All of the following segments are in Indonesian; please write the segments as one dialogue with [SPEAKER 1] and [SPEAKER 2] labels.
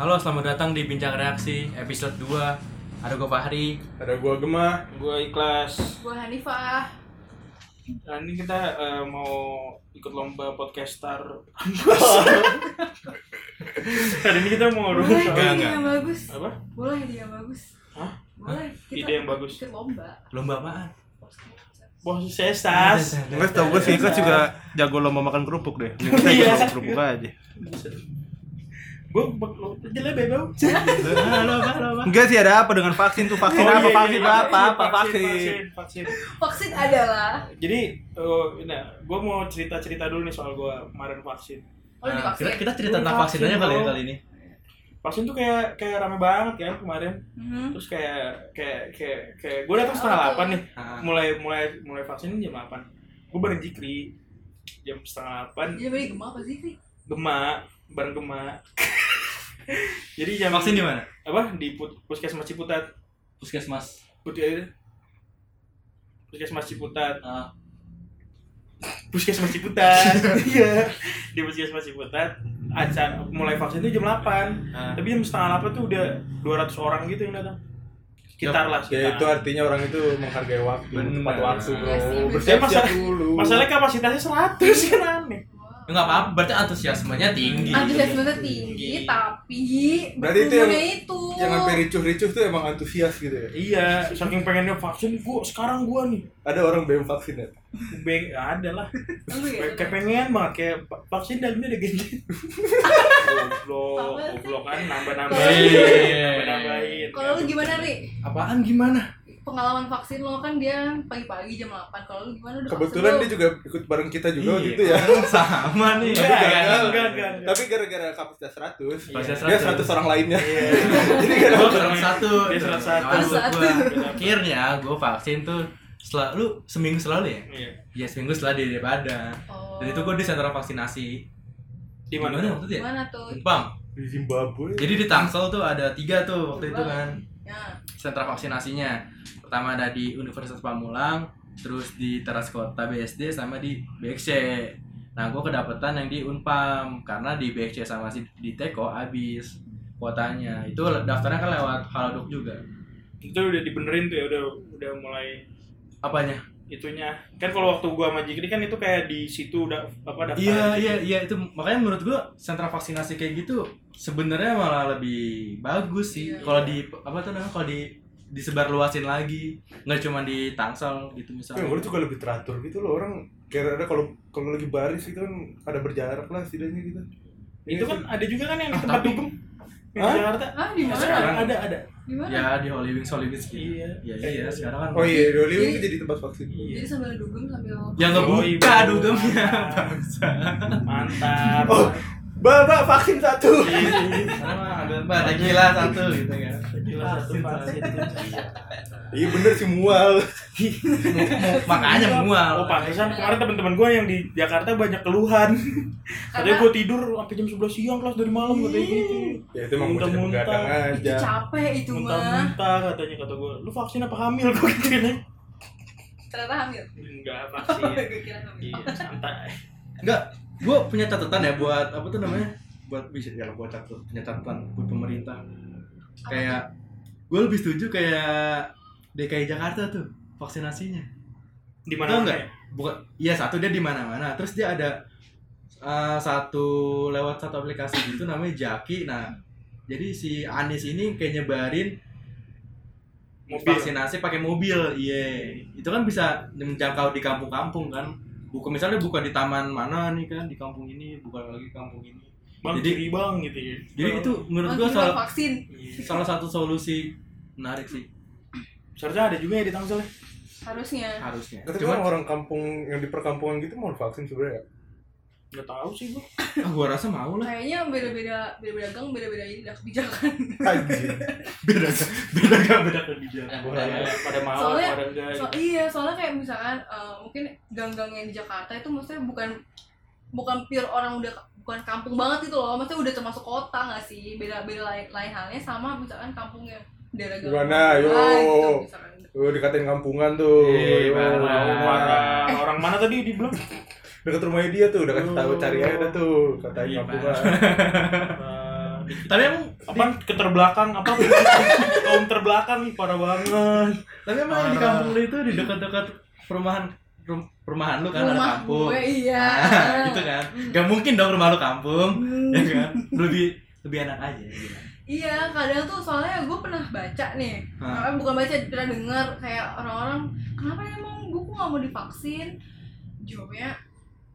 [SPEAKER 1] Halo, selamat datang di Bincang Reaksi episode 2 Ada gue Fahri
[SPEAKER 2] Ada gua Gemah.
[SPEAKER 3] Gua ikhlas.
[SPEAKER 4] Gua Hanifah.
[SPEAKER 3] Nah, ini kita eh, mau ikut lomba podcaster. Hari ini kita mau
[SPEAKER 4] Boleh
[SPEAKER 3] ngomongin
[SPEAKER 4] ide
[SPEAKER 3] soal
[SPEAKER 1] enggak.
[SPEAKER 4] yang bagus.
[SPEAKER 3] apa?
[SPEAKER 4] Boleh ide yang bagus.
[SPEAKER 3] Hah?
[SPEAKER 4] Boleh. Kita
[SPEAKER 3] Ide yang bagus.
[SPEAKER 4] Ikut lomba.
[SPEAKER 1] Lomba apaan?
[SPEAKER 3] Bos sesas.
[SPEAKER 2] Enggak tau gue sih, Ikut juga jago lomba makan kerupuk deh. Ini Kita
[SPEAKER 3] Iya.
[SPEAKER 2] ikut kerupuk aja.
[SPEAKER 3] Gua bak- lo- jelek bego.
[SPEAKER 1] Halo, halo, halo
[SPEAKER 2] Enggak sih ada apa dengan vaksin tuh
[SPEAKER 3] Oh,
[SPEAKER 2] vaksin apa vaksin apa apa vaksin.
[SPEAKER 3] iya, vaksin, vaksin.
[SPEAKER 4] Vaksin adalah.
[SPEAKER 3] Jadi, eh, nah, gua mau cerita-cerita dulu nih soal gua kemarin vaksin.
[SPEAKER 4] Oh, ini
[SPEAKER 1] Nah,
[SPEAKER 4] vaksin.
[SPEAKER 1] kita, kita cerita tentang vaksin aja kali ya kali ini
[SPEAKER 3] Vaksin tuh kayak kayak rame banget kan kemarin.
[SPEAKER 4] Mhm.
[SPEAKER 3] Terus kayak kayak kayak kayak gua datang setengah
[SPEAKER 4] Oh, iya.
[SPEAKER 3] delapan nih. Mulai mulai mulai vaksin jam 8. Gua bareng Jikri jam setengah 8
[SPEAKER 4] Jadi beri Hmm? gemah apa sih? Kri?
[SPEAKER 3] Gema, bareng Gema. Jadi jam
[SPEAKER 1] Vaksin di mana?
[SPEAKER 3] apa di put, puskesmas Ciputat,
[SPEAKER 1] Puskesmas
[SPEAKER 3] put, eh, puskesmas Ciputat,
[SPEAKER 1] Ah.
[SPEAKER 3] puskesmas Ciputat. Iya. di puskesmas Ciputat acara mulai vaksin itu jam 8.
[SPEAKER 1] Ah.
[SPEAKER 3] Tapi jam setengah 8 tuh udah 200 orang gitu yang datang. Sekitar lah,
[SPEAKER 5] Ya
[SPEAKER 3] sekitar.
[SPEAKER 5] itu artinya orang itu menghargai waktu,
[SPEAKER 1] Bener.
[SPEAKER 5] tepat waktu bro.
[SPEAKER 4] Iya sih, bener.
[SPEAKER 5] Bersiap-siap
[SPEAKER 3] Masalah-
[SPEAKER 5] dulu.
[SPEAKER 3] Masalahnya kapasitasnya 100 kan aneh.
[SPEAKER 4] Wow.
[SPEAKER 1] Ya nggak apa-apa, berarti antusiasmenya tinggi
[SPEAKER 4] Antusiasmenya
[SPEAKER 3] Tinggi.
[SPEAKER 4] tinggi, tapi
[SPEAKER 5] Berarti itu yang-
[SPEAKER 4] berkumpulnya itu.
[SPEAKER 5] Yang sampai ricuh-ricuh tuh emang antusias gitu ya.
[SPEAKER 3] Iya, saking pengennya vaksin gua sekarang gua nih.
[SPEAKER 5] Ada orang belum vaksin ya.
[SPEAKER 3] Beng, ya ada lah.
[SPEAKER 4] Lu ya,
[SPEAKER 3] Kayak pengen banget kayak va- vaksin dalamnya ada genjet. goblok goblok kan nambah nambahin
[SPEAKER 1] Iya.
[SPEAKER 3] nambah nambahin
[SPEAKER 4] Kalau lu gimana, Ri?
[SPEAKER 1] Apaan gimana?
[SPEAKER 4] Pengalaman vaksin lo kan dia pagi-pagi jam 8. Kalau lu gimana? Udah
[SPEAKER 5] Kebetulan dia
[SPEAKER 4] vaksin belum?
[SPEAKER 5] juga ikut bareng kita juga
[SPEAKER 3] Iya.
[SPEAKER 5] gitu ya.
[SPEAKER 1] kan? Sama nih Iya, Enggak,
[SPEAKER 3] Enggak, enggak,
[SPEAKER 1] enggak.
[SPEAKER 3] enggak, enggak, enggak.
[SPEAKER 5] Tapi gara-gara kapasitas 100,
[SPEAKER 1] Kapasitas
[SPEAKER 5] dia
[SPEAKER 1] 100.
[SPEAKER 5] 100 orang lainnya.
[SPEAKER 3] Iya.
[SPEAKER 5] Jadi kan
[SPEAKER 1] Gua salah satu
[SPEAKER 3] Dia salah satu.
[SPEAKER 1] Masuk gua.
[SPEAKER 3] Salah satu.
[SPEAKER 1] Akhirnya gue vaksin tuh selalu seminggu selalu ya?
[SPEAKER 3] Iya.
[SPEAKER 1] Ya seminggu setelah di Padang.
[SPEAKER 4] Oh.
[SPEAKER 1] Dan itu gue di sentra vaksinasi.
[SPEAKER 3] di mana
[SPEAKER 1] Gimana waktu itu ya?
[SPEAKER 4] Gimana tuh?
[SPEAKER 1] Bang,
[SPEAKER 5] di Zimbabwe.
[SPEAKER 3] Iya.
[SPEAKER 1] Jadi di Tangsel tuh ada tiga tuh waktu itu kan
[SPEAKER 4] Ya.
[SPEAKER 1] sentra vaksinasinya. Pertama ada di Universitas Pamulang, terus di Teras Kota BSD sama di BXC. Nah, gue kedapetan yang di Unpam karena di BXC sama si di Teko habis kuotanya. Itu daftarnya kan lewat Halodoc juga.
[SPEAKER 3] itu udah dibenerin tuh ya udah udah mulai
[SPEAKER 1] Apanya?
[SPEAKER 3] itunya kan kalau waktu gua sama Jikri kan itu kayak di situ udah apa daftar
[SPEAKER 1] Iya, iya, iya itu makanya menurut gue sentra vaksinasi kayak gitu sebenarnya malah lebih bagus sih
[SPEAKER 4] Iya.
[SPEAKER 1] kalau di apa tuh namanya kalau di disebar luasin lagi nggak cuma di Tangsel gitu
[SPEAKER 5] Tapi
[SPEAKER 1] misalnya.
[SPEAKER 5] yang juga lebih teratur gitu loh orang kira-kira kalau kalau lagi baris gitu kan ada berjarak lah setidaknya gitu.
[SPEAKER 3] itu
[SPEAKER 5] Iya
[SPEAKER 3] kan
[SPEAKER 5] sih.
[SPEAKER 3] ada juga kan yang di
[SPEAKER 1] Ah,
[SPEAKER 3] tempat
[SPEAKER 1] tapi-
[SPEAKER 3] dugem yang
[SPEAKER 5] Hah?
[SPEAKER 3] di Jakarta
[SPEAKER 4] Ah, di mana?
[SPEAKER 3] sekarang ada ada
[SPEAKER 4] Di mana?
[SPEAKER 1] Ya di Holy Wings Holy Wings gitu.
[SPEAKER 3] iya
[SPEAKER 1] Ya iya sekarang kan.
[SPEAKER 5] Oh iya, Doli itu jadi tempat vaksin.
[SPEAKER 1] Iya.
[SPEAKER 4] Jadi sambil dugem sambil
[SPEAKER 1] Yang
[SPEAKER 3] Oh, iya.
[SPEAKER 1] ngebuka dugemnya bangsa.
[SPEAKER 3] mantap
[SPEAKER 5] Oh. Bapak vaksin satu.
[SPEAKER 3] Iya.
[SPEAKER 1] Sama ambil mbak tequila satu gitu kan.
[SPEAKER 3] gila satu vaksin
[SPEAKER 5] Iya bener sih mual.
[SPEAKER 1] Makanya mual.
[SPEAKER 3] Oh pantesan kemarin teman-teman gue yang di Jakarta banyak keluhan. Katanya gue tidur sampai jam 11 siang kelas dari malam katanya gitu.
[SPEAKER 5] Ya itu emang bocah
[SPEAKER 3] Muntah-muntah.
[SPEAKER 5] begadang
[SPEAKER 4] itu
[SPEAKER 5] aja.
[SPEAKER 4] capek itu mah.
[SPEAKER 3] Muntah-muntah katanya kata gue. Lu vaksin apa hamil gue gitu
[SPEAKER 4] Ternyata hamil.
[SPEAKER 3] Enggak
[SPEAKER 4] Oh,
[SPEAKER 3] vaksin.
[SPEAKER 4] gue kira hamil.
[SPEAKER 3] Iya, santai.
[SPEAKER 1] Enggak, gue punya catatan ya buat apa tuh namanya? Buat bisa ya buat catat punya catatan buat pemerintah. Kayak gue lebih setuju kayak DKI Jakarta tuh vaksinasinya.
[SPEAKER 3] Di
[SPEAKER 1] Tahu
[SPEAKER 3] mana ya?
[SPEAKER 1] nggak? Bukan, iya satu dia di mana-mana. Terus dia ada eh, satu lewat satu aplikasi gitu namanya Jaki. Nah, jadi si Anis ini kayak nyebarin
[SPEAKER 3] Mobil.
[SPEAKER 1] vaksinasi pakai mobil iya itu kan bisa menjangkau di kampung-kampung kan buka misalnya buka di taman mana nih kan di kampung ini buka lagi kampung ini
[SPEAKER 3] Bang
[SPEAKER 1] Jadi-
[SPEAKER 3] kiri bang gitu ya.
[SPEAKER 1] jadi itu menurut
[SPEAKER 4] Bang,
[SPEAKER 1] gua
[SPEAKER 4] gimana
[SPEAKER 1] salah
[SPEAKER 4] Oh, vaksin.
[SPEAKER 3] Iya.
[SPEAKER 1] salah satu solusi menarik sih
[SPEAKER 3] Seharusnya ada juga ya di Tangsel. ya.
[SPEAKER 4] Harusnya.
[SPEAKER 1] harusnya
[SPEAKER 5] Tapi
[SPEAKER 1] cuman
[SPEAKER 5] orang kampung yang di perkampungan gitu mau vaksin sebenarnya. ya?
[SPEAKER 3] Nggak tahu sih gue.
[SPEAKER 1] ah, gua rasa mau lah
[SPEAKER 4] Kayaknya beda-beda beda-beda gang, beda-beda ini dah kebijakan.
[SPEAKER 5] Anjir.
[SPEAKER 1] beda beda gak beda kebijakan
[SPEAKER 3] Pada pada mau,
[SPEAKER 4] Soalnya-
[SPEAKER 3] pada enggak. gitu.
[SPEAKER 4] So, iya, soalnya kayak misalkan eh, mungkin gang-gang yang di Jakarta itu maksudnya bukan bukan pure orang udah bukan kampung banget itu loh, maksudnya udah termasuk kota nggak sih? Beda-beda lain, lain halnya sama misalkan kampung yang daerah gang.
[SPEAKER 5] Gimana, yo?
[SPEAKER 4] Gitu, misalkan.
[SPEAKER 5] Tuh Oh, dikatain kampungan tuh.
[SPEAKER 1] Iya,
[SPEAKER 5] Yo,
[SPEAKER 1] parah.
[SPEAKER 5] orang marah.
[SPEAKER 4] Eh.
[SPEAKER 3] Marah. Orang mana tadi di blok?
[SPEAKER 1] Oh.
[SPEAKER 5] Dekat rumahnya dia tuh udah kasih tahu cari aja dah tuh katain
[SPEAKER 1] Iya,
[SPEAKER 5] kampungan.
[SPEAKER 3] Eh,
[SPEAKER 1] tapi emang
[SPEAKER 3] Apa keterbelakang apa kaum terbelakang nih parah banget.
[SPEAKER 1] tapi emang yang di
[SPEAKER 3] Parah.
[SPEAKER 1] kampung lu itu di dekat-dekat perumahan rum- perumahan lu kan ada
[SPEAKER 4] rumah
[SPEAKER 1] kampung
[SPEAKER 4] gue iya Hmm.
[SPEAKER 1] Ah, gitu kan gak mungkin dong rumah lu kampung ya kan lebih lebih enak aja gitu.
[SPEAKER 4] Iya, kadang tuh soalnya gue pernah baca nih,
[SPEAKER 1] Hah.
[SPEAKER 4] Eh, bukan baca, pernah dengar kayak orang-orang kenapa emang gue kok nggak mau divaksin? Jawabnya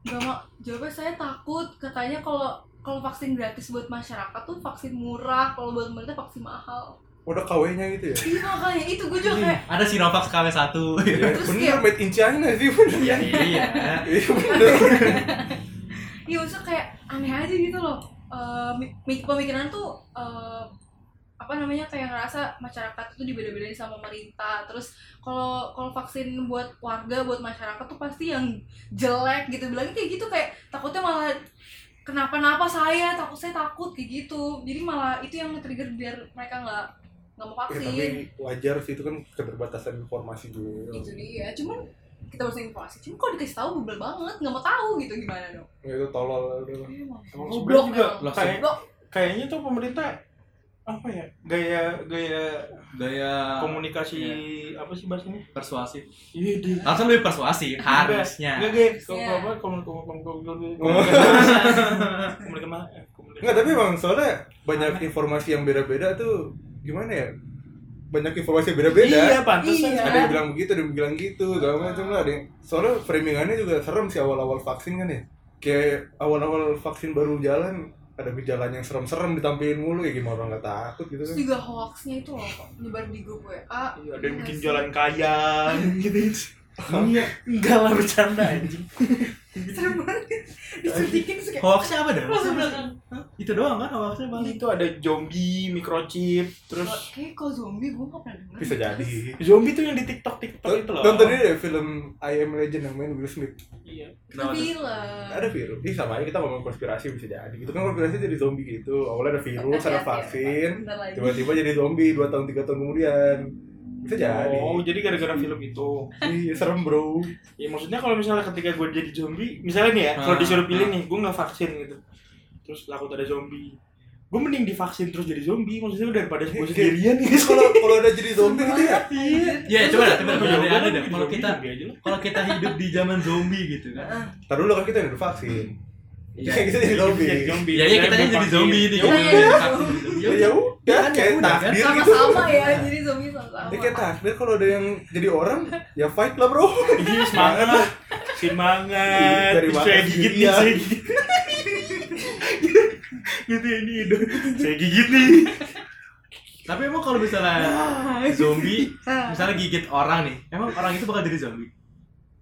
[SPEAKER 4] nggak mau. Jawabnya saya takut. Katanya kalau kalau vaksin gratis buat masyarakat tuh vaksin murah, kalau buat pemerintah vaksin mahal.
[SPEAKER 5] Udah KW-nya gitu ya.
[SPEAKER 4] Iya makanya itu gue juga kayak
[SPEAKER 1] ada Sinovac KW1
[SPEAKER 5] Ya,
[SPEAKER 4] Terus
[SPEAKER 5] bener,
[SPEAKER 4] kayak-
[SPEAKER 5] made in China sih bener.
[SPEAKER 1] iya iya
[SPEAKER 5] Iya bener.
[SPEAKER 4] Iya maksudnya kayak aneh aja gitu loh Eh, mi- mi- Pemikiran tuh eh, apa namanya kayak ngerasa masyarakat itu dibeda-bedain sama pemerintah terus kalau kalau vaksin buat warga buat masyarakat tuh pasti yang jelek gitu bilangnya kayak gitu kayak takutnya malah kenapa-napa saya takut saya takut kayak gitu jadi malah itu yang nge-trigger biar mereka nggak
[SPEAKER 3] Iya,
[SPEAKER 4] nggak mau
[SPEAKER 5] Ya,
[SPEAKER 4] vaksin
[SPEAKER 5] tapi
[SPEAKER 3] gitu.
[SPEAKER 5] wajar sih itu kan keterbatasan informasi juga.
[SPEAKER 4] itu Gitu dia cuman kita harus informasi cuman kalau dikasih tahu bebel banget nggak mau tahu gitu gimana dong
[SPEAKER 5] Ya, itu tolol udah.
[SPEAKER 4] Iya, emang.
[SPEAKER 3] Emang
[SPEAKER 4] Goblok
[SPEAKER 3] sebenarnya juga
[SPEAKER 4] emang.
[SPEAKER 3] lah, kayak-
[SPEAKER 4] Goblok.
[SPEAKER 3] Kayaknya tuh pemerintah apa ya gaya gaya
[SPEAKER 1] gaya
[SPEAKER 3] komunikasi apa sih bahasanya?
[SPEAKER 1] persuasif
[SPEAKER 3] Ah, Iya deh.
[SPEAKER 1] Iya. harusnya lebih persuasif harusnya
[SPEAKER 3] Enggak gaya
[SPEAKER 4] Iya.
[SPEAKER 3] apa komunikasi
[SPEAKER 5] Oh.
[SPEAKER 3] komunikasi
[SPEAKER 5] Enggak, tapi emang soalnya banyak informasi yang beda-beda tuh gimana ya? Banyak informasi yang beda-beda.
[SPEAKER 3] Iya, pantesan.
[SPEAKER 4] Iya.
[SPEAKER 5] Ada yang bilang begitu, ada yang bilang gitu, segala macam lah. Ada yang, soalnya framingannya juga serem sih awal-awal vaksin kan ya. Kayak awal-awal vaksin baru jalan, ada gejalanya yang serem-serem ditampilin mulu ya gimana orang nggak takut gitu kan.
[SPEAKER 4] Terus juga hoaxnya itu loh kok nyebar di grup WA.
[SPEAKER 3] Iya, ada yang bikin
[SPEAKER 4] Ngasih.
[SPEAKER 3] jalan kaya gitu. Iya, enggak lah bercanda anjing.
[SPEAKER 4] Serem banget. Disuntikin terus kayak
[SPEAKER 1] hoaxnya apa dong
[SPEAKER 4] Langsung kan.
[SPEAKER 1] Hah? itu doang kan hoaxnya paling
[SPEAKER 3] Itu ada zombie, microchip, terus
[SPEAKER 4] kayak kalau "Eh, zombie gue gak pernah denger.
[SPEAKER 5] Bisa jadi.
[SPEAKER 3] zombie tuh yang di TikTok TikTok itu loh.
[SPEAKER 5] Tonton ini deh film I Am Legend yang main Will Smith.
[SPEAKER 3] Iya.
[SPEAKER 1] Kenapa tuh?
[SPEAKER 4] Film.
[SPEAKER 5] Ada virus. Ih sama aja kita ngomong konspirasi bisa jadi. Gitu kan konspirasi jadi zombie gitu. Awalnya ada virus, ada vaksin,
[SPEAKER 4] Bentar lagi.
[SPEAKER 5] tiba-tiba jadi zombie 2 tahun 3 tahun kemudian. Bisa jadi.
[SPEAKER 3] Oh, jadi gara-gara film itu.
[SPEAKER 5] Iya serem bro.
[SPEAKER 3] Ya maksudnya kalau misalnya ketika gue jadi zombie, misalnya nih ya, kalau
[SPEAKER 1] Ah,
[SPEAKER 3] disuruh pilih
[SPEAKER 1] ah.
[SPEAKER 3] nih, gue nggak vaksin gitu. Terus takut ada zombie. Gue mending divaksin terus jadi zombie, maksudnya daripada gue sendirian nih.
[SPEAKER 5] Terus kalau kalau ada jadi zombie gitu ya.
[SPEAKER 3] Iya.
[SPEAKER 1] ya coba lah coba
[SPEAKER 3] Kalau
[SPEAKER 1] coba
[SPEAKER 3] gue
[SPEAKER 1] ada
[SPEAKER 3] kan
[SPEAKER 1] deh
[SPEAKER 3] jadi
[SPEAKER 1] ya. kalau
[SPEAKER 3] zombie,
[SPEAKER 1] kita
[SPEAKER 3] zombie aja lah.
[SPEAKER 1] kalau kita hidup di zaman zombie gitu kan
[SPEAKER 5] Ntar dulu kan kita udah divaksin.
[SPEAKER 1] Iya.
[SPEAKER 5] Kayak kita jadi zombie.
[SPEAKER 3] zombie.
[SPEAKER 1] ya ya kita jadi
[SPEAKER 3] Divaksin.
[SPEAKER 1] zombie nih
[SPEAKER 3] Ya
[SPEAKER 1] kita jadi
[SPEAKER 4] Iya, iya.
[SPEAKER 1] zombie.
[SPEAKER 5] Ya ya udah
[SPEAKER 1] kan, ya
[SPEAKER 5] kayak
[SPEAKER 1] udah, kan.
[SPEAKER 5] takdir gitu.
[SPEAKER 4] Sama-sama ya, jadi zombie sama-sama.
[SPEAKER 5] Ya kayak takdir kalau ada yang jadi orang ya fight lah bro.
[SPEAKER 3] Iya semangat lah. Semangat.
[SPEAKER 5] Dari
[SPEAKER 3] Terus saya
[SPEAKER 5] makan
[SPEAKER 3] gigit nih,
[SPEAKER 5] sendirian.
[SPEAKER 3] saya gigit. gitu ya, ini hidup. Saya gigit nih.
[SPEAKER 1] tapi emang kalau misalnya zombie
[SPEAKER 4] Ah.
[SPEAKER 1] misalnya gigit orang nih emang orang itu bakal jadi zombie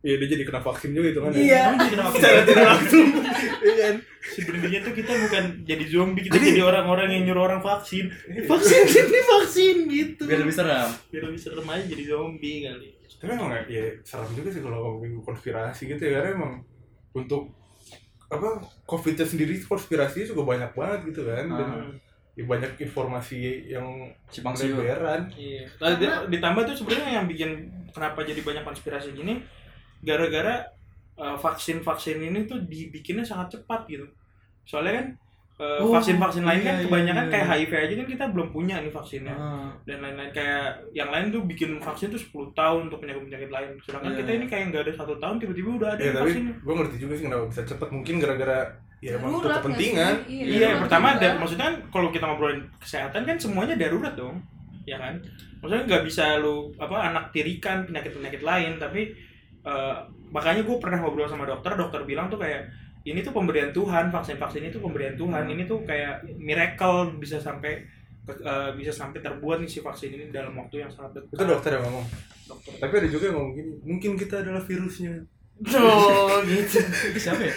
[SPEAKER 5] Iya dia jadi kena vaksin juga itu kan. ya.
[SPEAKER 4] Iya.
[SPEAKER 1] emang jadi kenapa
[SPEAKER 5] Secara tidak langsung. Iya kan.
[SPEAKER 3] Sebenarnya tuh kita bukan jadi zombie, kita jadi orang-orang yang nyuruh orang vaksin. Vaksin sini vaksin gitu.
[SPEAKER 1] biar lebih serem
[SPEAKER 3] biar lebih serem aja jadi zombie kali
[SPEAKER 5] Tapi emang ya serem juga sih kalau ngomongin konspirasi gitu ya karena emang untuk apa COVID-nya sendiri konspirasinya juga banyak banget gitu kan dan
[SPEAKER 1] Ah.
[SPEAKER 5] ya, banyak informasi yang
[SPEAKER 1] cipang siur
[SPEAKER 5] beran
[SPEAKER 3] iya Lalu di- ditambah tuh sebenarnya yang bikin kenapa jadi banyak konspirasi gini gara-gara vaksin vaksin ini tuh dibikinnya sangat cepat gitu soalnya kan
[SPEAKER 1] Oh,
[SPEAKER 3] vaksin vaksin lain
[SPEAKER 1] iya,
[SPEAKER 3] kan
[SPEAKER 1] iya,
[SPEAKER 3] kebanyakan
[SPEAKER 1] iya,
[SPEAKER 3] kayak
[SPEAKER 1] iya.
[SPEAKER 3] HIV aja kan kita belum punya
[SPEAKER 5] ya.
[SPEAKER 3] nih vaksinnya
[SPEAKER 1] Ah.
[SPEAKER 3] dan lain-lain kayak yang lain tuh bikin vaksin tuh 10 tahun untuk penyakit-penyakit lain sedangkan
[SPEAKER 1] Iya,
[SPEAKER 3] kita
[SPEAKER 1] iya.
[SPEAKER 3] ini kayak nggak ada satu tahun tiba-tiba udah ada
[SPEAKER 5] ya
[SPEAKER 3] nih
[SPEAKER 5] tapi
[SPEAKER 3] vaksinnya
[SPEAKER 5] gue ngerti juga sih kenapa bisa cepat mungkin gara-gara ya emang untuk
[SPEAKER 4] Darurat nggak sih?
[SPEAKER 5] kepentingan
[SPEAKER 1] Iya,
[SPEAKER 3] Iya, yang pertama
[SPEAKER 4] juga.
[SPEAKER 3] ada maksudnya kan kalau kita ngobrolin kesehatan kan semuanya darurat dong, ya kan? Maksudnya nggak bisa lu apa anak tirikan penyakit-penyakit lain, tapi eh, makanya gue pernah ngobrol sama dokter, dokter bilang tuh kayak ini tuh pemberian Tuhan, vaksin-vaksin itu pemberian Tuhan, ini tuh kayak miracle bisa sampai ke- eh, bisa sampai terbuat nih si vaksin ini dalam waktu yang sangat dekat.
[SPEAKER 5] itu dokter yang ngomong
[SPEAKER 3] dokter.
[SPEAKER 5] tapi ada juga yang ngomong gini mungkin kita adalah virusnya
[SPEAKER 3] Oh, gitu.
[SPEAKER 1] itu siapa ya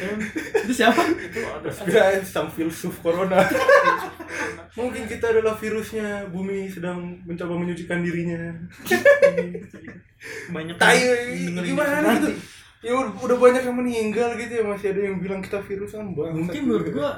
[SPEAKER 1] itu siapa
[SPEAKER 3] Itu ada-
[SPEAKER 5] Guys, sang filsuf corona mungkin kita adalah virusnya bumi sedang mencoba menyucikan dirinya
[SPEAKER 3] banyak
[SPEAKER 5] tai
[SPEAKER 3] dengerin
[SPEAKER 5] gimana gitu ya udah udah banyak yang meninggal gitu ya masih ada yang bilang kita kan virusan bang
[SPEAKER 1] mungkin menurut gua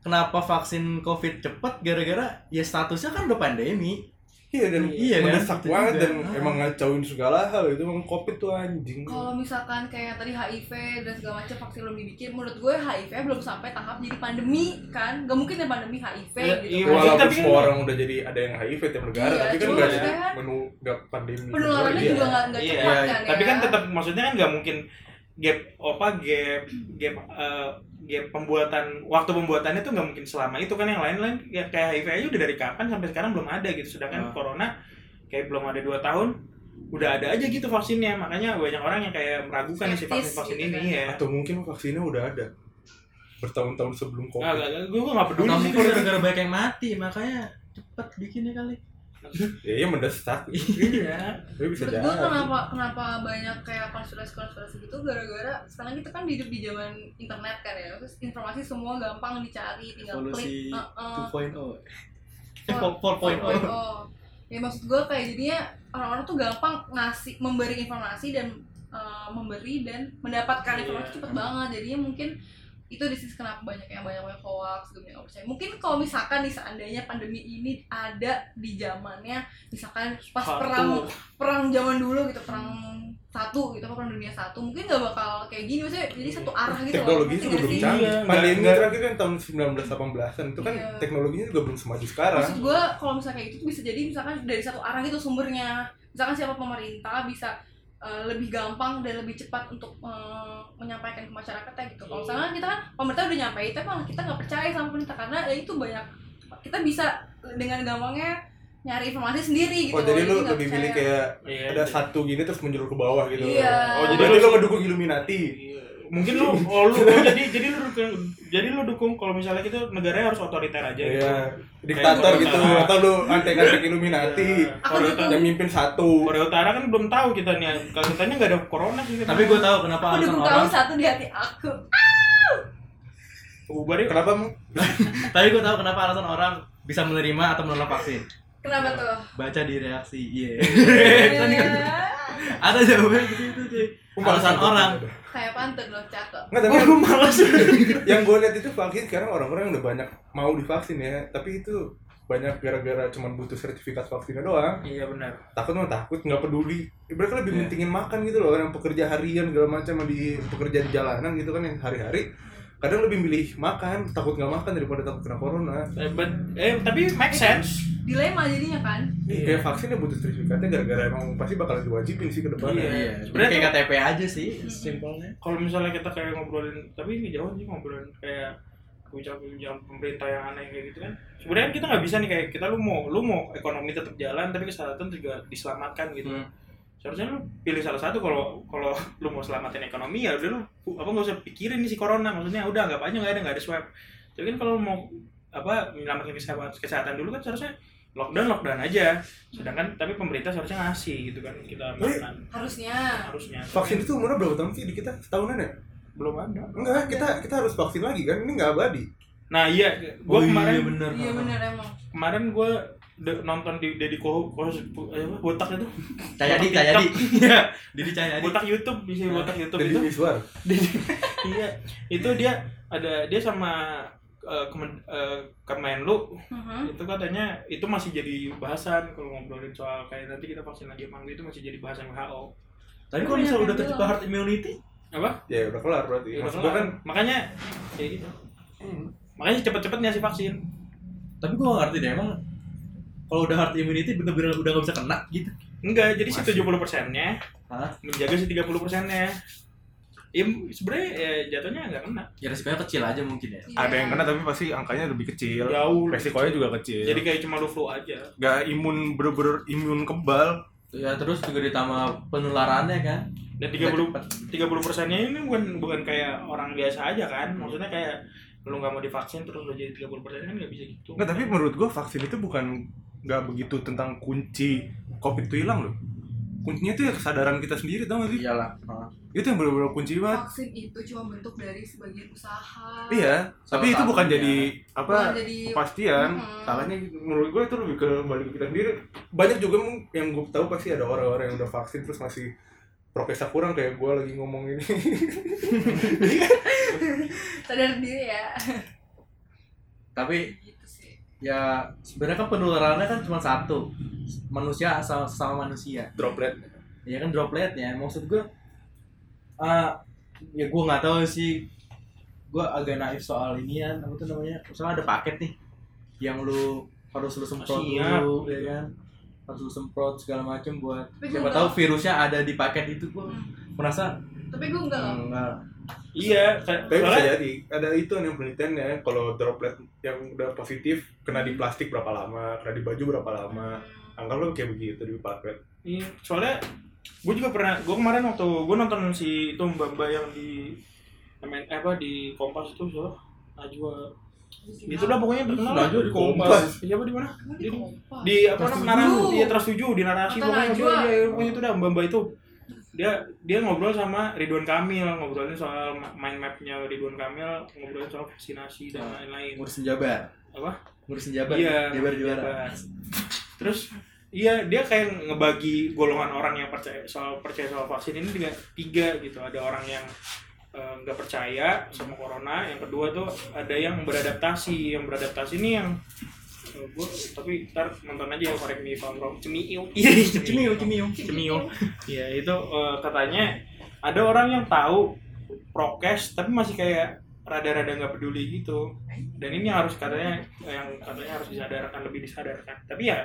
[SPEAKER 1] kenapa vaksin covid cepet gara-gara ya statusnya kan udah pandemi
[SPEAKER 5] Iya dan
[SPEAKER 1] Iya, kan?
[SPEAKER 5] mendesak
[SPEAKER 1] Itu
[SPEAKER 5] banget
[SPEAKER 1] juga.
[SPEAKER 5] dan emang ngacauin segala hal itu emang covid tuh anjing.
[SPEAKER 3] Hmm.
[SPEAKER 4] Kalau misalkan kayak tadi HIV dan segala macam vaksin belum dibikin, menurut gue HIV belum sampai tahap jadi pandemi kan, gak mungkin ya pandemi HIV
[SPEAKER 3] Ya,
[SPEAKER 4] gitu.
[SPEAKER 3] iya,
[SPEAKER 5] Walaupun
[SPEAKER 3] Tapi kan-
[SPEAKER 5] semua orang udah jadi ada yang HIV tiap negara,
[SPEAKER 4] Iya,
[SPEAKER 5] tapi kan
[SPEAKER 4] cuma
[SPEAKER 5] nggak
[SPEAKER 4] maksudnya kan
[SPEAKER 5] menu nggak pandemi.
[SPEAKER 4] Penularannya
[SPEAKER 5] Iya.
[SPEAKER 4] juga nggak nggak
[SPEAKER 3] Iya,
[SPEAKER 4] cepat
[SPEAKER 1] iya.
[SPEAKER 4] kan ya.
[SPEAKER 3] tapi kan tetap maksudnya kan nggak mungkin gap apa gap gap eh, gap pembuatan waktu pembuatannya tuh nggak mungkin selama itu kan yang lain-lain ya kayak HIV aja udah dari kapan sampai sekarang belum ada gitu sedangkan
[SPEAKER 4] Iya.
[SPEAKER 1] Ah.
[SPEAKER 3] corona kayak belum ada dua tahun udah ada aja gitu vaksinnya makanya banyak orang yang kayak meragukan si
[SPEAKER 4] Skeptis
[SPEAKER 3] vaksin vaksin
[SPEAKER 4] gitu
[SPEAKER 3] ini
[SPEAKER 4] kan.
[SPEAKER 3] ya
[SPEAKER 5] Atau mungkin vaksinnya udah ada bertahun-tahun sebelum
[SPEAKER 3] nggak
[SPEAKER 5] covid.
[SPEAKER 3] nggak gue nggak peduli
[SPEAKER 1] Atau
[SPEAKER 3] sih
[SPEAKER 1] mungkin gara-gara banyak yang mati, makanya cepet bikinnya kali.
[SPEAKER 5] Ya iya mendesak.
[SPEAKER 1] Iya.
[SPEAKER 3] ya.
[SPEAKER 5] Tapi bisa
[SPEAKER 4] Menurut gitu
[SPEAKER 5] jadi.
[SPEAKER 4] gue kenapa kenapa banyak kayak konspirasi-konspirasi gitu gara-gara sekarang kita kan hidup di zaman internet kan ya, terus informasi semua gampang dicari, tinggal
[SPEAKER 1] Evolusi
[SPEAKER 4] klik. ah, Heeh.
[SPEAKER 1] 2.0. oh. Eh,
[SPEAKER 4] Oh. Four-
[SPEAKER 1] 4.0.
[SPEAKER 4] Oh, ya maksud gue kayak jadinya orang-orang tuh gampang ngasih memberi informasi dan uh, memberi dan
[SPEAKER 3] Iya.
[SPEAKER 4] mendapatkan informasi cepet banget jadinya mungkin itu di sisi kenapa banyak yang banyak banyak hoax gitu yang nggak percaya mungkin kalau misalkan nih seandainya pandemi ini ada di zamannya misalkan pas
[SPEAKER 3] Satu.
[SPEAKER 4] perang perang zaman dulu gitu perang satu gitu apa perang dunia satu mungkin nggak bakal kayak gini maksudnya jadi satu arah gitu loh.
[SPEAKER 5] teknologi
[SPEAKER 4] Ngerti
[SPEAKER 5] juga
[SPEAKER 4] nggak
[SPEAKER 5] belum
[SPEAKER 4] sih?
[SPEAKER 5] canggih.
[SPEAKER 3] Iya,
[SPEAKER 5] Pandemi
[SPEAKER 3] nggak-
[SPEAKER 5] terakhir kan tahun 1918-an itu kan
[SPEAKER 4] Iya.
[SPEAKER 5] teknologinya juga belum semaju sekarang.
[SPEAKER 4] Maksud gue kalau misalnya kayak gitu tuh bisa jadi misalkan dari satu arah gitu sumbernya. Misalkan siapa pemerintah bisa eh, lebih gampang dan lebih cepat untuk eh, menyampaikan ke masyarakatnya gitu. Kalau misalkan kita kan pemerintah udah nyampein tapi malah kita nggak percaya sama pemerintah karena ya itu banyak kita bisa dengan gampangnya nyari informasi sendiri gitu.
[SPEAKER 5] Oh jadi lu
[SPEAKER 4] nggak
[SPEAKER 5] lebih
[SPEAKER 4] percaya.
[SPEAKER 5] milih kayak
[SPEAKER 3] Iya,
[SPEAKER 5] ada satu gini terus menjulur ke bawah gitu.
[SPEAKER 4] Iya.
[SPEAKER 3] Oh, jadi
[SPEAKER 5] Berarti
[SPEAKER 3] lu- Iya.
[SPEAKER 5] lu ngedukung Illuminati.
[SPEAKER 3] mungkin lu oh, lu oh, jadi jadi lu dukung jadi lu dukung kalau misalnya gitu negaranya harus otoriter aja gitu.
[SPEAKER 5] Iya. Diktator
[SPEAKER 3] Kayak
[SPEAKER 5] gitu
[SPEAKER 3] Korea.
[SPEAKER 5] atau lu antek-antek Illuminati.
[SPEAKER 3] Iya.
[SPEAKER 4] Aku
[SPEAKER 3] Korea
[SPEAKER 4] dukung.
[SPEAKER 5] Yang mimpin satu.
[SPEAKER 3] Korea Utara kan belum tahu kita nih. Kalau kitanya nggak ada corona sih. kita.
[SPEAKER 1] Tapi gue tahu kenapa
[SPEAKER 4] Aku
[SPEAKER 1] alasan
[SPEAKER 4] dukung kamu
[SPEAKER 1] orang.
[SPEAKER 4] satu di hati aku.
[SPEAKER 3] Uber ya
[SPEAKER 5] Kenapa mau?
[SPEAKER 1] Tapi gue tahu kenapa alasan orang bisa menerima atau menolak vaksin.
[SPEAKER 4] Kenapa tuh?
[SPEAKER 1] Baca di reaksi. Iya. kan
[SPEAKER 5] gitu.
[SPEAKER 4] Iya.
[SPEAKER 1] Ada jawaban gitu itu cuy. Alasan orang.
[SPEAKER 4] Kayak pantun loh cakep.
[SPEAKER 5] Nggak, tapi
[SPEAKER 3] Gue malas.
[SPEAKER 5] yang gue lihat itu vaksin sekarang orang-orang yang udah banyak mau divaksin ya tapi itu banyak gara-gara cuman butuh sertifikat vaksinnya doang
[SPEAKER 3] Iya benar.
[SPEAKER 5] takut mah takut nggak peduli mereka lebih
[SPEAKER 1] Iya.
[SPEAKER 5] mentingin makan gitu loh orang pekerja harian segala macam di pekerja di jalanan gitu kan yang hari-hari kadang lebih milih makan takut nggak makan daripada takut kena corona
[SPEAKER 3] Eh, but- eh, tapi make sense.
[SPEAKER 4] Dilema jadinya kan.
[SPEAKER 5] Ih, kayak vaksinnya Iya, butuh sertifikatnya gara-gara emang pasti bakal diwajibin sih ke depannya
[SPEAKER 1] Iya. Sebenarnya
[SPEAKER 3] Sebenarnya
[SPEAKER 1] kayak KTP aja sih, simpelnya.
[SPEAKER 3] Kalau misalnya kita kayak ngobrolin, tapi ini jauh sih ngobrolin kayak kebijakan-kebijakan pemerintah yang aneh kayak gitu kan. Sebenarnya kita nggak bisa nih kayak kita lu mau lu mau ekonomi tetap jalan tapi kesehatan juga diselamatkan gitu.
[SPEAKER 1] Hmm.
[SPEAKER 3] Seharusnya lu pilih salah satu kalau kalau lu mau selamatin ekonomi ya udah lu apa nggak usah pikirin nih si corona maksudnya udah nggak banyak nggak ada nggak ada swab. Tapi kan kalau lu mau apa menyelamatkan kesehatan, kesehatan dulu kan seharusnya lockdown lockdown aja. Sedangkan tapi pemerintah seharusnya ngasih gitu kan kita makan
[SPEAKER 4] Harusnya.
[SPEAKER 3] harusnya.
[SPEAKER 5] vaksin itu umurnya berapa tahun sih di kita setahunan ya
[SPEAKER 3] belum ada.
[SPEAKER 5] enggak kita kita harus vaksin lagi kan ini nggak abadi
[SPEAKER 3] Nah iya, gue
[SPEAKER 1] Oh, iya,
[SPEAKER 3] kemarin
[SPEAKER 1] bener.
[SPEAKER 4] Iya bener emang.
[SPEAKER 3] kemarin gue nonton di Deddy Koh, Koh apa, botak itu,
[SPEAKER 1] Cayadi, Cayadi. Iya. Didi Cayadi.
[SPEAKER 3] botak YouTube bisa botak YouTube
[SPEAKER 5] jadi
[SPEAKER 3] itu.
[SPEAKER 5] visual
[SPEAKER 3] Iya, itu dia ada dia sama eh, kemen, eh, Kemenlu
[SPEAKER 4] Mhm.
[SPEAKER 3] itu katanya itu masih jadi bahasan kalau ngobrolin soal kayak nanti kita vaksin lagi emang itu masih jadi bahasan WHO.
[SPEAKER 1] Tapi kalau misalnya udah tercipta herd immunity,
[SPEAKER 3] Apa?
[SPEAKER 5] ya udah kelar berarti
[SPEAKER 3] Ya,
[SPEAKER 5] maksud
[SPEAKER 3] masalah.
[SPEAKER 5] gue kan
[SPEAKER 3] makanya ya gitu. Makanya cepet-cepet ngasih vaksin.
[SPEAKER 1] tapi gue ngerti deh emang kalau udah herd immunity bener-bener udah gak bisa kena gitu.
[SPEAKER 3] Enggak, jadi si
[SPEAKER 1] Masih.
[SPEAKER 3] 70 persennya
[SPEAKER 1] Hah?
[SPEAKER 3] menjaga si 30 persennya. Ya, sebenarnya ya, jatuhnya nggak kena.
[SPEAKER 1] Ya resikonya kecil aja mungkin ya.
[SPEAKER 4] Iya.
[SPEAKER 2] Ada yang kena tapi pasti angkanya lebih kecil.
[SPEAKER 3] Jauh.
[SPEAKER 2] Resikonya juga
[SPEAKER 5] Iya.
[SPEAKER 2] kecil.
[SPEAKER 3] Jadi kayak cuma lu flu aja.
[SPEAKER 2] nggak imun bener-bener imun kebal.
[SPEAKER 1] Ya terus juga ditambah penularannya kan.
[SPEAKER 3] Dan 30 30 persennya ini bukan bukan kayak orang biasa aja kan. Maksudnya kayak lu nggak mau divaksin terus lu jadi 30 persen kan nggak bisa gitu.
[SPEAKER 2] Nggak, tapi menurut gua vaksin itu bukan nggak begitu tentang kunci covid itu hilang loh. Kuncinya itu ya kesadaran kita sendiri tau gak sih?
[SPEAKER 1] Iyalah.
[SPEAKER 2] Itu yang bener-bener kunci banget.
[SPEAKER 4] vaksin itu cuma bentuk dari sebagian usaha.
[SPEAKER 2] Iya, tapi itu bukan
[SPEAKER 1] satunya.
[SPEAKER 2] jadi apa
[SPEAKER 4] Bukan jadi
[SPEAKER 2] kepastian.
[SPEAKER 4] Mhm.
[SPEAKER 5] salahnya menurut gue itu lebih ke balik ke kita sendiri banyak juga mung- yang gue tahu pasti ada orang-orang yang udah vaksin terus masih prokesnya kurang kayak gue lagi ngomong ini
[SPEAKER 4] sadar diri ya.
[SPEAKER 1] Tapi
[SPEAKER 4] Gitu sih.
[SPEAKER 1] ya sebenarnya kan penularannya kan cuma satu. manusia asal sama manusia
[SPEAKER 5] droplet
[SPEAKER 1] ya kan dropletnya maksud gue eh ya gue nggak tahu sih gue agak naif soal ini ya apa tuh namanya misalnya ada paket nih yang lu harus lu semprot
[SPEAKER 3] Siap.
[SPEAKER 1] dulu ya kan harus lu semprot segala macem buat
[SPEAKER 4] Tapi gua
[SPEAKER 1] siapa
[SPEAKER 4] nggak- Hmm.
[SPEAKER 1] tahu virusnya ada di paket itu gue merasa
[SPEAKER 4] tapi gue enggak loh
[SPEAKER 1] enggak
[SPEAKER 3] Iya, kayak-
[SPEAKER 5] tapi bisa ya.
[SPEAKER 3] soalnya
[SPEAKER 5] jadi ada itu nih penelitiannya kalau droplet yang udah positif kena di plastik berapa lama kena di baju berapa lama angka lo kayak begitu di paket
[SPEAKER 3] Iya, soalnya gue juga pernah, gue kemarin waktu gue nonton si itu Mbak Mbak yang di MN, apa di Kompas itu siapa? Najwa. Itu lah pokoknya terkenal.
[SPEAKER 5] Najwa di Kompas.
[SPEAKER 3] Siapa di mana?
[SPEAKER 4] di
[SPEAKER 3] Di-
[SPEAKER 4] kompas
[SPEAKER 3] Di apa
[SPEAKER 1] Trans
[SPEAKER 3] namanya?
[SPEAKER 4] Tujuh.
[SPEAKER 3] Narasi, iya Trans 7 di narasi
[SPEAKER 4] Kata
[SPEAKER 3] pokoknya
[SPEAKER 4] Najwa.
[SPEAKER 3] Iya, iya, pokoknya itu dah Mbak Mbak itu. Dia dia ngobrol sama Ridwan Kamil, ngobrolin soal ma- mind mapnya Ridwan Kamil, ngobrolin soal vaksinasi dan lain-lain.
[SPEAKER 1] ngurusin jabar
[SPEAKER 3] Apa?
[SPEAKER 1] ngurusin jabar
[SPEAKER 3] Iya,
[SPEAKER 1] jabar juara
[SPEAKER 3] bebas. Terus iya dia kayak ngebagi golongan orang yang percaya soal percaya soal vaksin ini tiga, tiga gitu. Ada orang yang eh, nggak percaya sama corona, yang kedua tuh ada yang beradaptasi, yang beradaptasi ini yang eh, gua, tapi ntar nonton aja ya korek mi from wrong cemiu
[SPEAKER 1] cemiu cemiu
[SPEAKER 3] cemiu ya itu eh, katanya ada orang yang tahu prokes tapi masih kayak rada-rada nggak peduli gitu dan ini yang harus katanya yang katanya harus disadarkan lebih disadarkan tapi ya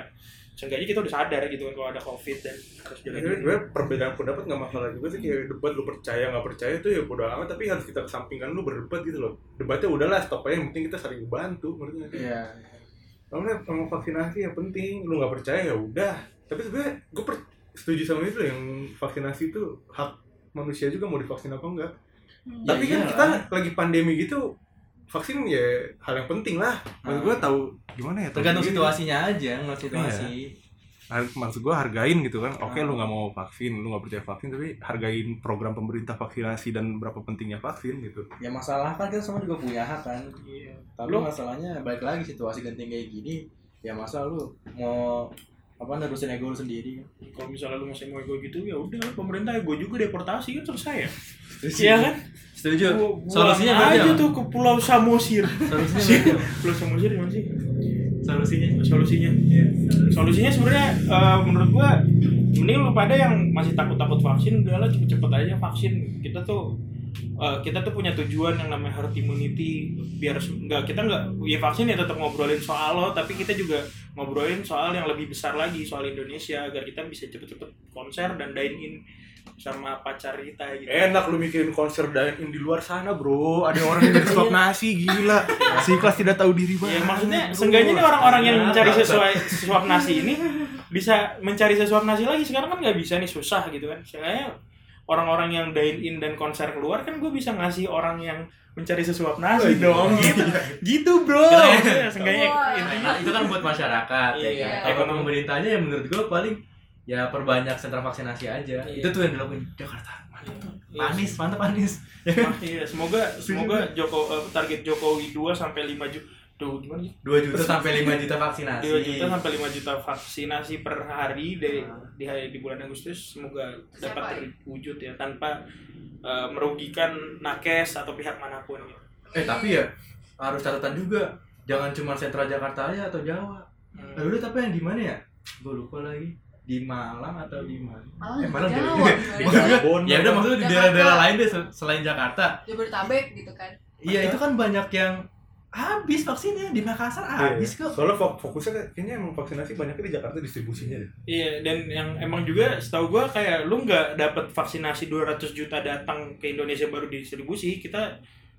[SPEAKER 3] seenggaknya kita udah sadar gitu kan kalau ada covid dan harus
[SPEAKER 5] Ya, jadi
[SPEAKER 3] jaga diri.
[SPEAKER 5] Iya, sebenarnya perbedaan pendapat nggak masalah juga sih kayak debat lu percaya nggak percaya itu ya bodo amat tapi harus kita kesampingkan lu berdebat gitu loh debatnya udahlah stop aja yang penting kita saling bantu ngerti nggak sih?
[SPEAKER 1] iya
[SPEAKER 5] Karena sama vaksinasi ya penting, lu nggak percaya ya udah. Tapi sebenarnya gue per- setuju sama itu yang vaksinasi itu hak manusia juga mau divaksin apa enggak.
[SPEAKER 4] Hmm.
[SPEAKER 1] Ya,
[SPEAKER 5] Tapi kan
[SPEAKER 1] iyalah.
[SPEAKER 5] kita lagi pandemi gitu, vaksin ya hal yang penting lah. Maksud gue tahu gimana ya? tahu
[SPEAKER 1] tergantung
[SPEAKER 5] sendiri.
[SPEAKER 1] situasinya aja ngeliat situasi
[SPEAKER 5] Har- Maksud gue hargain gitu kan.
[SPEAKER 1] Ah.
[SPEAKER 5] Oke lu nggak mau vaksin, lu nggak percaya vaksin, tapi hargain program pemerintah vaksinasi dan berapa pentingnya vaksin gitu.
[SPEAKER 1] ya masalah kan kita semua juga punya hak kan
[SPEAKER 3] Iya.
[SPEAKER 1] Tapi
[SPEAKER 3] Lu-
[SPEAKER 1] masalahnya balik lagi situasi genting kayak gini, ya masa lu mau apa nerusin ego lu sendiri kan?
[SPEAKER 3] kalau misalnya lu masih mau ego gitu ya udah pemerintah ego juga deportasi kan selesai ya
[SPEAKER 1] Setuju.
[SPEAKER 3] iya kan
[SPEAKER 1] Setuju.
[SPEAKER 3] Gua- gua
[SPEAKER 1] Solusinya berarti
[SPEAKER 3] aja
[SPEAKER 1] apa?
[SPEAKER 3] tuh ke pulau Samosir
[SPEAKER 1] Solusinya berarti apa?
[SPEAKER 3] pulau Samosir gimana sih
[SPEAKER 1] Solusinya. Iya.
[SPEAKER 3] solusinya solusinya sebenarnya eh, menurut gua mending lu pada yang masih takut-takut vaksin udahlah cepet-cepet aja vaksin kita tuh eh, kita tuh punya tujuan yang namanya herd immunity biar se- nggak kita nggak ya vaksin ya tetap ngobrolin soal lo tapi kita juga ngobrolin soal yang lebih besar lagi soal Indonesia agar kita bisa cepet-cepet konser dan dine in sama pacar kita gitu
[SPEAKER 5] Enak lu mikirin konser dine di luar sana bro. Ada orang yang suap
[SPEAKER 1] Iya.
[SPEAKER 5] nasi gila. Si kelas tidak tahu diri
[SPEAKER 3] Ya maksudnya seenggaknya nih orang-orang yang mencari sesuai sesuap nasi ini bisa mencari sesuap nasi lagi sekarang kan nggak bisa nih susah gitu kan. Seenggaknya orang-orang yang dine in dan konser keluar kan gue bisa ngasih orang yang mencari sesuap nasi dong gitu. gitu bro. Ya, Seenggaknya
[SPEAKER 4] Wah.
[SPEAKER 3] intinya
[SPEAKER 1] Oh, iya, Nah, itu kan buat masyarakat ya
[SPEAKER 3] Iya.
[SPEAKER 1] kan. Kalau
[SPEAKER 3] Ekonomi.
[SPEAKER 1] pemerintahnya ya menurut gua paling ya perbanyak sentra vaksinasi aja.
[SPEAKER 3] Iya.
[SPEAKER 1] Itu tuh yang dilakuin Jakarta. Mantap tuh.
[SPEAKER 3] Iya.
[SPEAKER 1] Panis, mantap panis.
[SPEAKER 3] Iya, semoga semoga Joko eh, target Jokowi 2 sampai 5 juta. Duh, gimana sih?
[SPEAKER 1] 2 juta sampai 5 juta vaksinasi.
[SPEAKER 3] 2 juta sampai 5 juta vaksinasi per hari dari
[SPEAKER 1] Ah.
[SPEAKER 3] di hari di bulan Agustus semoga
[SPEAKER 4] Tercapai.
[SPEAKER 3] dapat terwujud ya tanpa eh, merugikan nakes atau pihak manapun gitu.
[SPEAKER 1] Eh, tapi ya harus catatan juga. Jangan cuma sentra Jakarta aja atau Jawa.
[SPEAKER 3] Hmm.
[SPEAKER 1] Lalu tapi yang di mana ya? Gue lupa lagi. Di Malang atau di mana?
[SPEAKER 4] Malang
[SPEAKER 1] Eh, Malang
[SPEAKER 4] Jawa,
[SPEAKER 1] juga.
[SPEAKER 4] Jawa.
[SPEAKER 1] Ya udah maksudnya di
[SPEAKER 4] Jakarta.
[SPEAKER 1] daerah-daerah lain deh sel- selain Jakarta.
[SPEAKER 4] Jabodetabek gitu kan
[SPEAKER 1] Iya, itu kan banyak yang habis vaksinnya di Makassar
[SPEAKER 5] Iya.
[SPEAKER 1] habis kok.
[SPEAKER 5] Soalnya fok- fokusnya kayaknya emang vaksinasi banyaknya di Jakarta distribusinya deh.
[SPEAKER 3] Iya, dan yang emang juga setahu gua kayak lu nggak dapat vaksinasi 200 juta datang ke Indonesia baru didistribusi. Kita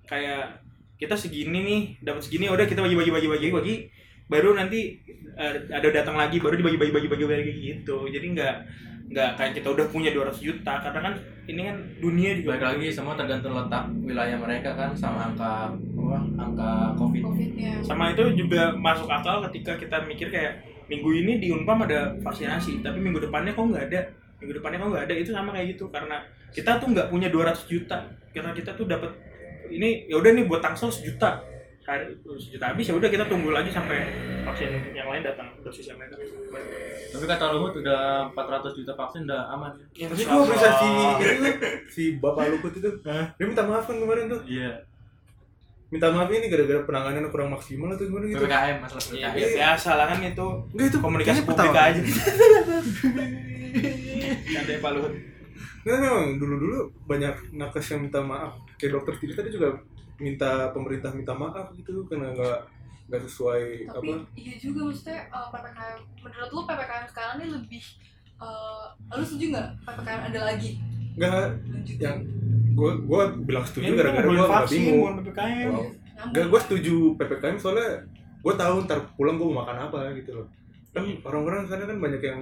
[SPEAKER 3] kayak kita segini nih, dapat segini ya udah kita bagi bagi bagi bagi bagi baru nanti eh, ada datang lagi baru dibagi bagi bagi bagi bagi gitu. Jadi nggak nggak kayak kita udah punya 200 juta karena kan ini kan dunia juga
[SPEAKER 1] Baik lagi semua tergantung letak wilayah mereka kan sama angka apa? Angka Covid.
[SPEAKER 4] covidnya
[SPEAKER 3] sama itu juga masuk akal ketika kita mikir kayak minggu ini di Unpam ada vaksinasi tapi minggu depannya kok nggak ada minggu depannya kok nggak ada itu sama kayak gitu karena kita tuh nggak punya 200 juta karena kita tuh dapat ini ya udah nih buat tangsel sejuta hari sejuta habis ya udah kita tunggu lagi sampai vaksin yang lain datang dosis yang lain datang.
[SPEAKER 1] Tapi kata Luhut udah 400 juta vaksin udah aman. ya?
[SPEAKER 5] Tapi gue bisa si si bapak Lukut itu,
[SPEAKER 1] Hah?
[SPEAKER 5] dia minta maaf kan kemarin tuh.
[SPEAKER 1] Iya.
[SPEAKER 5] minta maaf ini gara-gara penanganan kurang maksimal atau gimana gitu
[SPEAKER 1] PPKM masalah
[SPEAKER 3] Iya,
[SPEAKER 1] PPKM.
[SPEAKER 3] biasa biasa lah kan itu
[SPEAKER 2] Enggak itu
[SPEAKER 3] komunikasi
[SPEAKER 2] kayaknya
[SPEAKER 3] publik
[SPEAKER 2] pertama.
[SPEAKER 3] aja. Ada Pak Luhut.
[SPEAKER 5] Nah, memang dulu-dulu banyak nakes yang minta maaf. Kayak dokter Tiri tadi juga minta pemerintah minta maaf gitu karena nggak nggak sesuai
[SPEAKER 4] tapi
[SPEAKER 5] apa.
[SPEAKER 4] iya juga maksudnya eh, ppkm menurut lu ppkm sekarang ini lebih eh, lu setuju nggak ppkm ada lagi
[SPEAKER 5] Nggak
[SPEAKER 4] lanjutin
[SPEAKER 5] yang gue gue bilang
[SPEAKER 3] Ini
[SPEAKER 5] setuju
[SPEAKER 3] udah
[SPEAKER 5] gara-gara
[SPEAKER 3] ngumpulin
[SPEAKER 5] gue nggak
[SPEAKER 3] vaksin,
[SPEAKER 5] bingung.
[SPEAKER 3] bukan PPKM.
[SPEAKER 5] Wow.
[SPEAKER 4] Nyambung.
[SPEAKER 5] Nggak gue setuju ppkm soalnya gue tahu ntar pulang gue mau makan apa gitu loh. Kan
[SPEAKER 3] Iya.
[SPEAKER 5] orang-orang sana kan banyak yang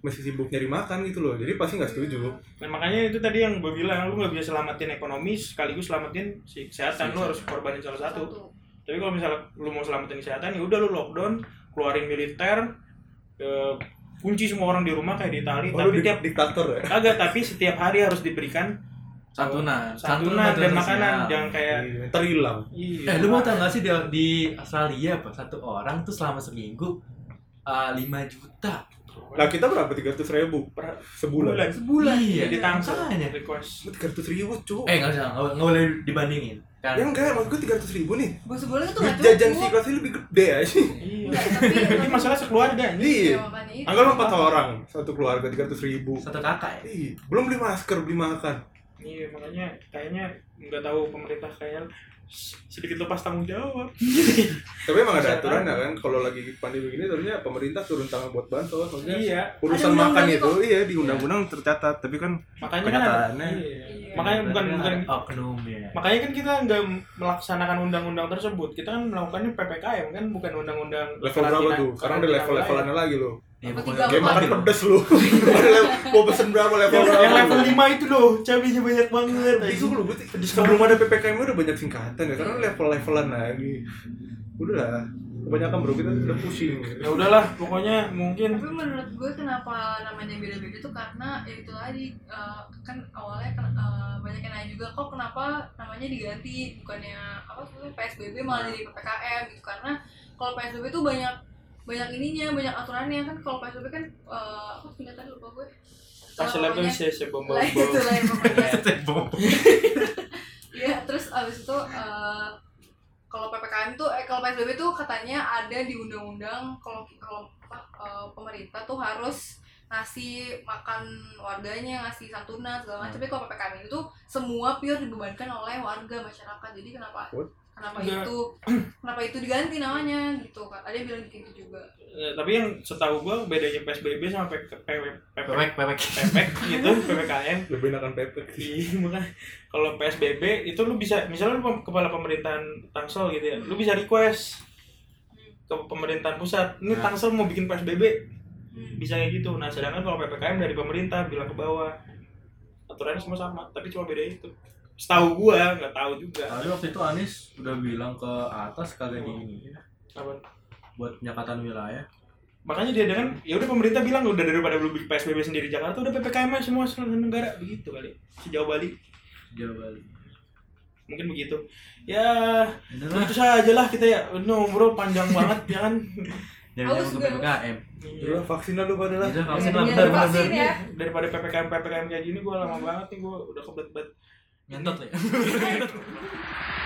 [SPEAKER 5] masih sibuk nyari makan gitu loh. Jadi pasti nggak setuju.
[SPEAKER 3] Nah, makanya itu tadi yang gue bilang, lu nggak bisa selamatin ekonomi sekaligus selamatin si kesehatan, lu harus korbanin salah satu. Tapi kalau misalnya lu mau selamatin kesehatan, ya udah lu lockdown, keluarin militer, eh, kunci semua orang di rumah kayak di Itali,
[SPEAKER 5] Oh,
[SPEAKER 3] tapi
[SPEAKER 5] lu di-
[SPEAKER 3] tiap Iya.
[SPEAKER 5] diktator ya.
[SPEAKER 3] kagak, tapi setiap hari harus diberikan
[SPEAKER 1] Santunan,
[SPEAKER 3] santunan dan
[SPEAKER 1] sosial.
[SPEAKER 3] makanan, jangan kayak
[SPEAKER 5] Iya, Ntar hilang.
[SPEAKER 3] iya.
[SPEAKER 1] Eh, lu mau tau gak sih di, di Australia apa satu orang tuh selama seminggu eh, 5 juta
[SPEAKER 5] Nah kita berapa? 300 ribu
[SPEAKER 3] Per-
[SPEAKER 5] sebulan.
[SPEAKER 3] bulan.
[SPEAKER 4] sebulan
[SPEAKER 1] Iya.
[SPEAKER 3] Jadi tangsel
[SPEAKER 1] Makanya.
[SPEAKER 3] request.
[SPEAKER 5] 300 ribu cuy.
[SPEAKER 1] Eh nggak usah, nggak nggak boleh dibandingin. Kan
[SPEAKER 5] Ya enggak, maksud gue 300 ribu nih
[SPEAKER 4] gue sebulan itu
[SPEAKER 5] Duit
[SPEAKER 4] nggak
[SPEAKER 5] jajan si
[SPEAKER 4] cukup
[SPEAKER 5] kelasnya lebih gede aja
[SPEAKER 3] Iya.
[SPEAKER 4] Nggak, tapi
[SPEAKER 3] Ini masalah sekeluarga ini.
[SPEAKER 5] Iya
[SPEAKER 4] Ya, makanya itu.
[SPEAKER 5] Anggap lo 4 orang Satu keluarga 300 ribu
[SPEAKER 1] satu kakak ya.
[SPEAKER 5] Ih, belum beli masker, beli makan
[SPEAKER 3] Iya, makanya kayaknya nggak tahu pemerintah kayaknya sedikit lepas tanggung jawab.
[SPEAKER 5] Tapi emang ada aturan ya kan Kalau lagi pandemi begini sebenarnya pemerintah turun tangan buat bansos Maksudnya
[SPEAKER 3] iya.
[SPEAKER 5] urusan
[SPEAKER 4] Ada
[SPEAKER 5] makan
[SPEAKER 4] undang-undang
[SPEAKER 5] itu Iya, di undang-undang tercatat Tapi kan
[SPEAKER 3] makanya kan
[SPEAKER 5] Kenyataannya.
[SPEAKER 3] ada- iya.
[SPEAKER 4] Iya.
[SPEAKER 3] makanya bukan
[SPEAKER 1] Berarti
[SPEAKER 3] bukan
[SPEAKER 1] ada oknum ya.
[SPEAKER 3] makanya kan kita nggak melaksanakan undang-undang tersebut kita kan melakukannya ppkm kan bukan undang-undang
[SPEAKER 5] level berapa
[SPEAKER 3] karantina-
[SPEAKER 5] tuh? Sekarang udah
[SPEAKER 3] karantina
[SPEAKER 5] level-levelannya lagi lo
[SPEAKER 1] Ya,
[SPEAKER 4] Apa
[SPEAKER 1] pokoknya-
[SPEAKER 4] tiga
[SPEAKER 5] Kayak makan
[SPEAKER 4] Apalagi lo?
[SPEAKER 5] pedes lu Ada level- Mau pesen berapa level
[SPEAKER 3] wilayah. yang level
[SPEAKER 5] berapa
[SPEAKER 3] 5 itu loh cabenya banyak banget
[SPEAKER 5] Bingung lu, gue
[SPEAKER 3] Pedes
[SPEAKER 5] sebelum ada PPKM udah banyak singkatan ya Karena level-levelan lagi Udah lah Kebanyakan bro, kita udah pusing
[SPEAKER 3] ya udahlah pokoknya mungkin
[SPEAKER 4] tapi menurut gue kenapa namanya beda-beda tuh karena ya itu tadi eh, kan awalnya kan, eh, banyak yang nanya juga kok kenapa namanya diganti bukannya apa sebelumnya psbb malah jadi ppkm gitu karena kalau psbb tuh banyak banyak ininya banyak aturannya kan kalau psbb kan eh, apa singkatan lupa gue
[SPEAKER 3] hasil
[SPEAKER 4] Namanya-
[SPEAKER 3] level sih sih bom bom
[SPEAKER 4] lain itu lain pokoknya
[SPEAKER 1] Tembok.
[SPEAKER 4] Iya, terus abis itu eh, kalau ppkm tuh, eh kalau psbb tuh katanya ada di undang-undang kalau kalau apa, eh, pemerintah tuh harus ngasih makan warganya, ngasih santunan segala macam. Tapi kalau ppkm itu semua pure dibebankan oleh warga masyarakat. Jadi kenapa?
[SPEAKER 5] What?
[SPEAKER 4] Kenapa
[SPEAKER 3] Enggak.
[SPEAKER 4] itu? Kenapa itu diganti namanya gitu? Ada yang bilang gitu juga.
[SPEAKER 3] tapi yang setahu gua bedanya psbb sama P- P- P-
[SPEAKER 1] Bebek, bebek.
[SPEAKER 3] ppk gitu ppkm
[SPEAKER 5] lebih enakan pepek sih
[SPEAKER 3] Iya, makanya kalau PSBB itu lu bisa misalnya lu pem- kepala pemerintahan Tangsel gitu ya, lu bisa request ke pemerintahan pusat, ini
[SPEAKER 1] Nah.
[SPEAKER 3] Tangsel mau bikin PSBB,
[SPEAKER 4] Hmm.
[SPEAKER 3] bisa kayak gitu. Nah, sedangkan kalau PPKM dari pemerintah bilang ke bawah. Aturannya semua sama, tapi cuma beda itu. Setahu gua, nggak tahu juga.
[SPEAKER 1] Tapi waktu itu Anies udah bilang ke atas kagak di ini ya.
[SPEAKER 3] Apa?
[SPEAKER 1] buat penyekatan wilayah.
[SPEAKER 3] Makanya dia dengan ya udah pemerintah bilang udah daripada lu bikin PSBB sendiri Jakarta udah PPKM aja semua seluruh negara begitu kali. Sejauh Bali
[SPEAKER 1] Jawa Bali.
[SPEAKER 3] mungkin begitu. Ya,
[SPEAKER 1] Itulah
[SPEAKER 3] itu saja lah kita ya. No, bro, panjang banget ya kan.
[SPEAKER 1] dari
[SPEAKER 4] Haus
[SPEAKER 1] zaman ke
[SPEAKER 4] juga.
[SPEAKER 1] PPKM.
[SPEAKER 5] Udah vaksin lah lu pada lah
[SPEAKER 1] Jadi vaksin
[SPEAKER 4] Iya,
[SPEAKER 1] lah,
[SPEAKER 4] iya,
[SPEAKER 1] benar benar.
[SPEAKER 4] vaksin
[SPEAKER 1] benar.
[SPEAKER 4] ya.
[SPEAKER 3] daripada ppkm ppkm kayak gini gue lama banget nih gue udah kebelet bet
[SPEAKER 1] Ngentot ya.